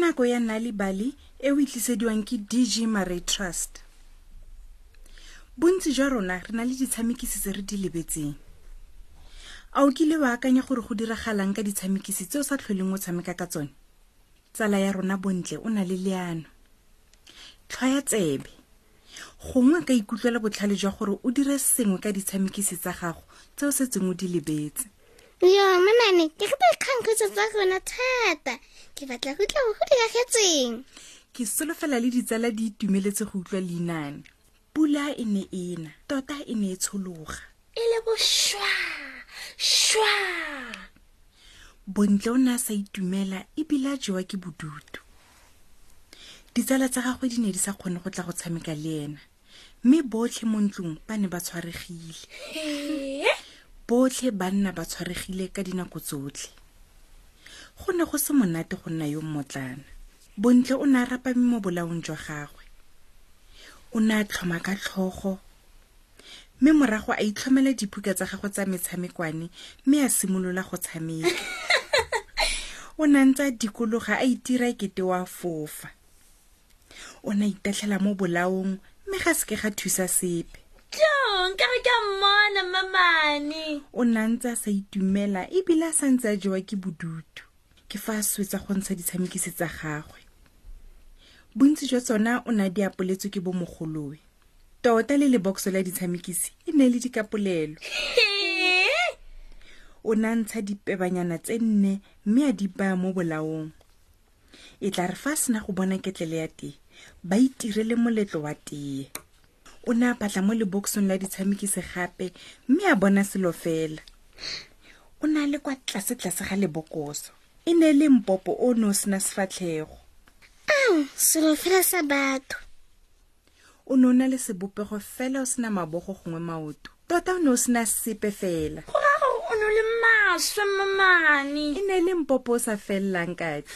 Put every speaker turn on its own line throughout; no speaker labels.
nako ya nalibali e o itlisediwang ke dg maray trust bontsi jwa rona re na le ditshamekisi tse re di lebetseng a o kile wa akanya gore go diragalang ka ditshamekisi tse o sa tlholeng o tshameka ka tsone tsala ya rona bontle o na le leano tlhwaya tsebe gongwe ka ikutlwela botlhale jwa gore o dire sengwe ka ditshamekisi tsa gago tse o setseng o di lebetse
yo mamane ke rata dikgankgitso tsa rona thata ke batla go utlwa gore go diragetseng
ke solofela le ditsala di itumeletse go utlwa leinane pula e ne e na tota e ne e tshologa
e le bošwa šwa
bontle o ne a sa itumela ebile a jewa ke bodutu ditsala tsa gagwe di ne di sa kgone go tla go tshameka le ena mme botlhe mo ntlong ba ne ba tshwaregile botlhe banna ba tshwaregile ka dinako tsotlhe go ne go se monate go nna yo mmotlana bontle o ne a rapame mo bolaong jwa gagwe o ne a tlhoma ka tlhogo mme morago a itlhomela dipuka tsa gagwe tsa metshamekwane mme a simolola go tshameka o ne a ntse a dikologa a itira kete wa fofa o ne a itatlhela mo bolaong mme ga seke ga thusa sepe
tlong ka re ka mmona mamane
o ne a ntse a sa itumela ebile a sa ntse a jewa ke bodutu ke fa a swetsa go ntsha ditshamekisi tsa gagwe bontsi jwa tsona o ne a di apoletswe ke bomogolowe tota le lebokso la ditshamekisi e ne le dikapolelo o ne a ntsha dipebanyana tse nne mme a di baya mo bolaong e tla re fa a sena go bona ketlele ya tee ba itirele moletlo wa tee o ne a batla mo leboksong la ditshamekisi gape mme a bona selo fela o ne a le kwa tlase-tlase ga lebokoso e ne e le mpopo o ne o sena sefatlhego
ao selo fela sa batho
o ne o na le sebopego fela o sena mabogo gongwe maoto tota o ne o sena sepe fela
go ra gore o no le maswe mamane
e ne e le mpopo o sa felelang katlhe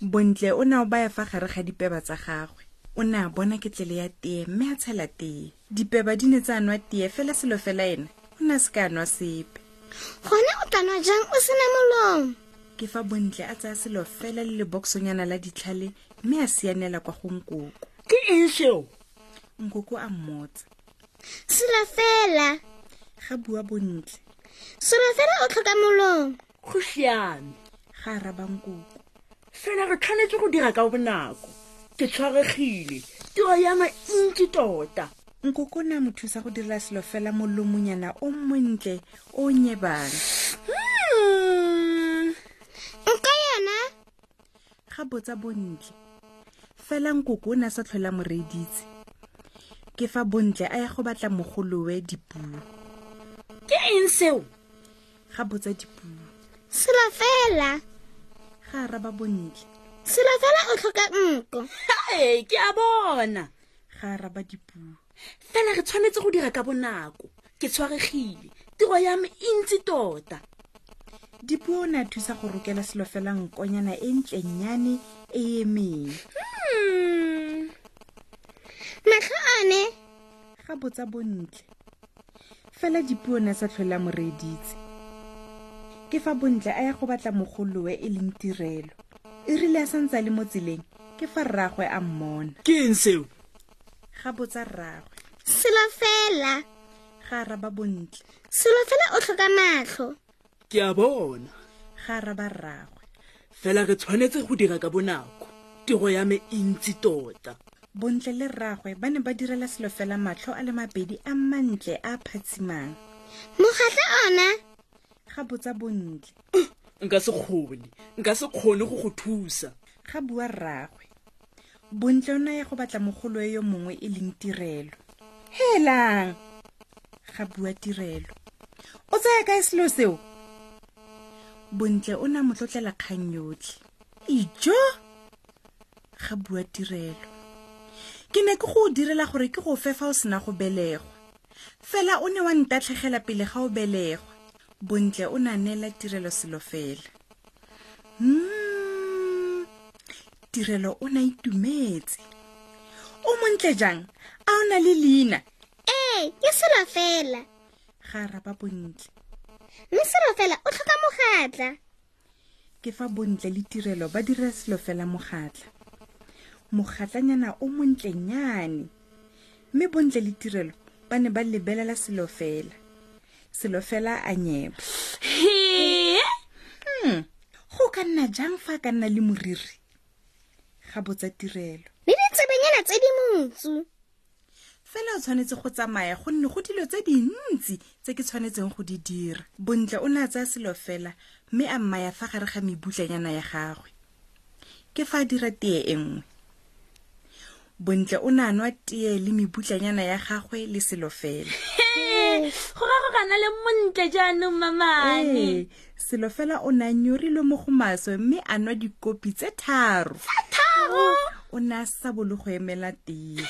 bontle o ne o baya fa gare ga dipeba tsa gagwe o ne a bona ketlele ya tee mme a tshela tee dipeba di ne tsa nwa tee fela selo fela ena o ne a se ka nwa sepe
gona o tlanwa jang o sena molomo
ke fa bontle a tsaya selo fela le leboksonyana la ditlhale mme a sianela kwa go nkoko
ke eng seo
nkoko a mmotsa
selo fela
ga bua bontle
selo fela o tlhoka molomo
go siame
ga a raba nkoko
fela re tshwanetse go dira ka bonako ke tshwaregile tiro ya me e ntsi tota
nkoko o ne a mo thusa go dira selo fela molomonyana o montle o o nyebang
nka yona
ga botsa bontle fela nkoko o ne a sa tlhola mo reeditse ke fa bontle a ya go batla mogolowe dipuo
ke eng seo
ga botsa dipuo
selo fela
ga a raba bontle
selo fela o tlhoka nko
ee ke a bona
ga a raba dipuo
fela re tshwanetse go dira ka bonako ke tshwaregile tiro ya me e ntsi tota
dipuo o ne a thusa go rokela selo fela nkonyana e ntlennyane e emeng
matlho one
ga botsa bontle fela dipuo ne a sa tlhola mo reeditse ke fa bontle a ya go batla mogolowe e leng tirelo e rile a santse a le mo tseleng ke fa rraagwe a mmona
ke eng seo
ga botsa rraagwe
selo fela
ga a raba bontle
selo fela o tlhoka matlho
ke a bona
ga a raba rraagwe
fela re tshwanetse go dira ka bonako tiro ya me e ntsi tota
bontle le rraagwe ba ne ba direla selo fela matlho a le mabedi a mantle a a phatsimang
mogatla ona
ga botsa bontle
nka se kgone nka se kgone go go thusa
ga bua rraagwe bontle o ne a ya go batla mogolo e yo mongwe e leng tirelo helang ga bua tirelo o tsaya kae selo seo bontle o ne a mo tlotlela kgang yotlhe ijo ga bua tirelo ke ne ke go o direla gore ke go fe fa o sena go belegwa fela o ne wa ntatlhegela pele ga o belegwa bontle o ne a neela tirelo selo fela mm tirelo o ne a itumetse o montle jang a o na le leina
ee ke selo fela
ga a raba bontle
mme selo fela o tlhoka mogatla
ke fa bontle le tirelo ba dira selo fela mogatla mogatlanyana o montlennyane mme bontle le tirelo ba ne ba lebelela selo fela selo fela a nyebo Hmm, go ka nna jang fa a ka nna le moriri ga botsa tirelo
le ditsebenyana tse di montsu
fela o tshwanetse go tsamaya gonne go dilo tse dintsi tse ke tshwanetseng go di dira bontle o ne a tsaya selo fela mme a mmaya fa gare ga mebutlanyana ya gagwe ke fa a dira tee e nngwe bontle o ne a nwa tee le mebutlanyana ya gagwe le selo fela
go ra go gana le montle jaanong
Mm.
mamane
Ee, selo fela o ne a nyorilwe mo go maswe mme a nwa dikopi tse tharo o ne a sa bole go emela tee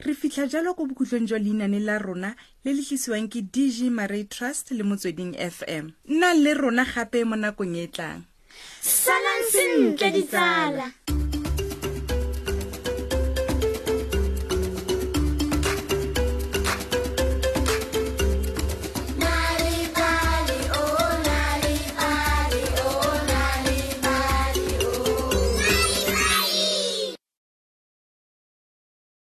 re fitlha jalo ko bokhutlong jwa leinane la rona le le tlisiwang ke dg maray trust le motsweding fm nna le rona gape mo nakong e e tlang
salang sentle ditsala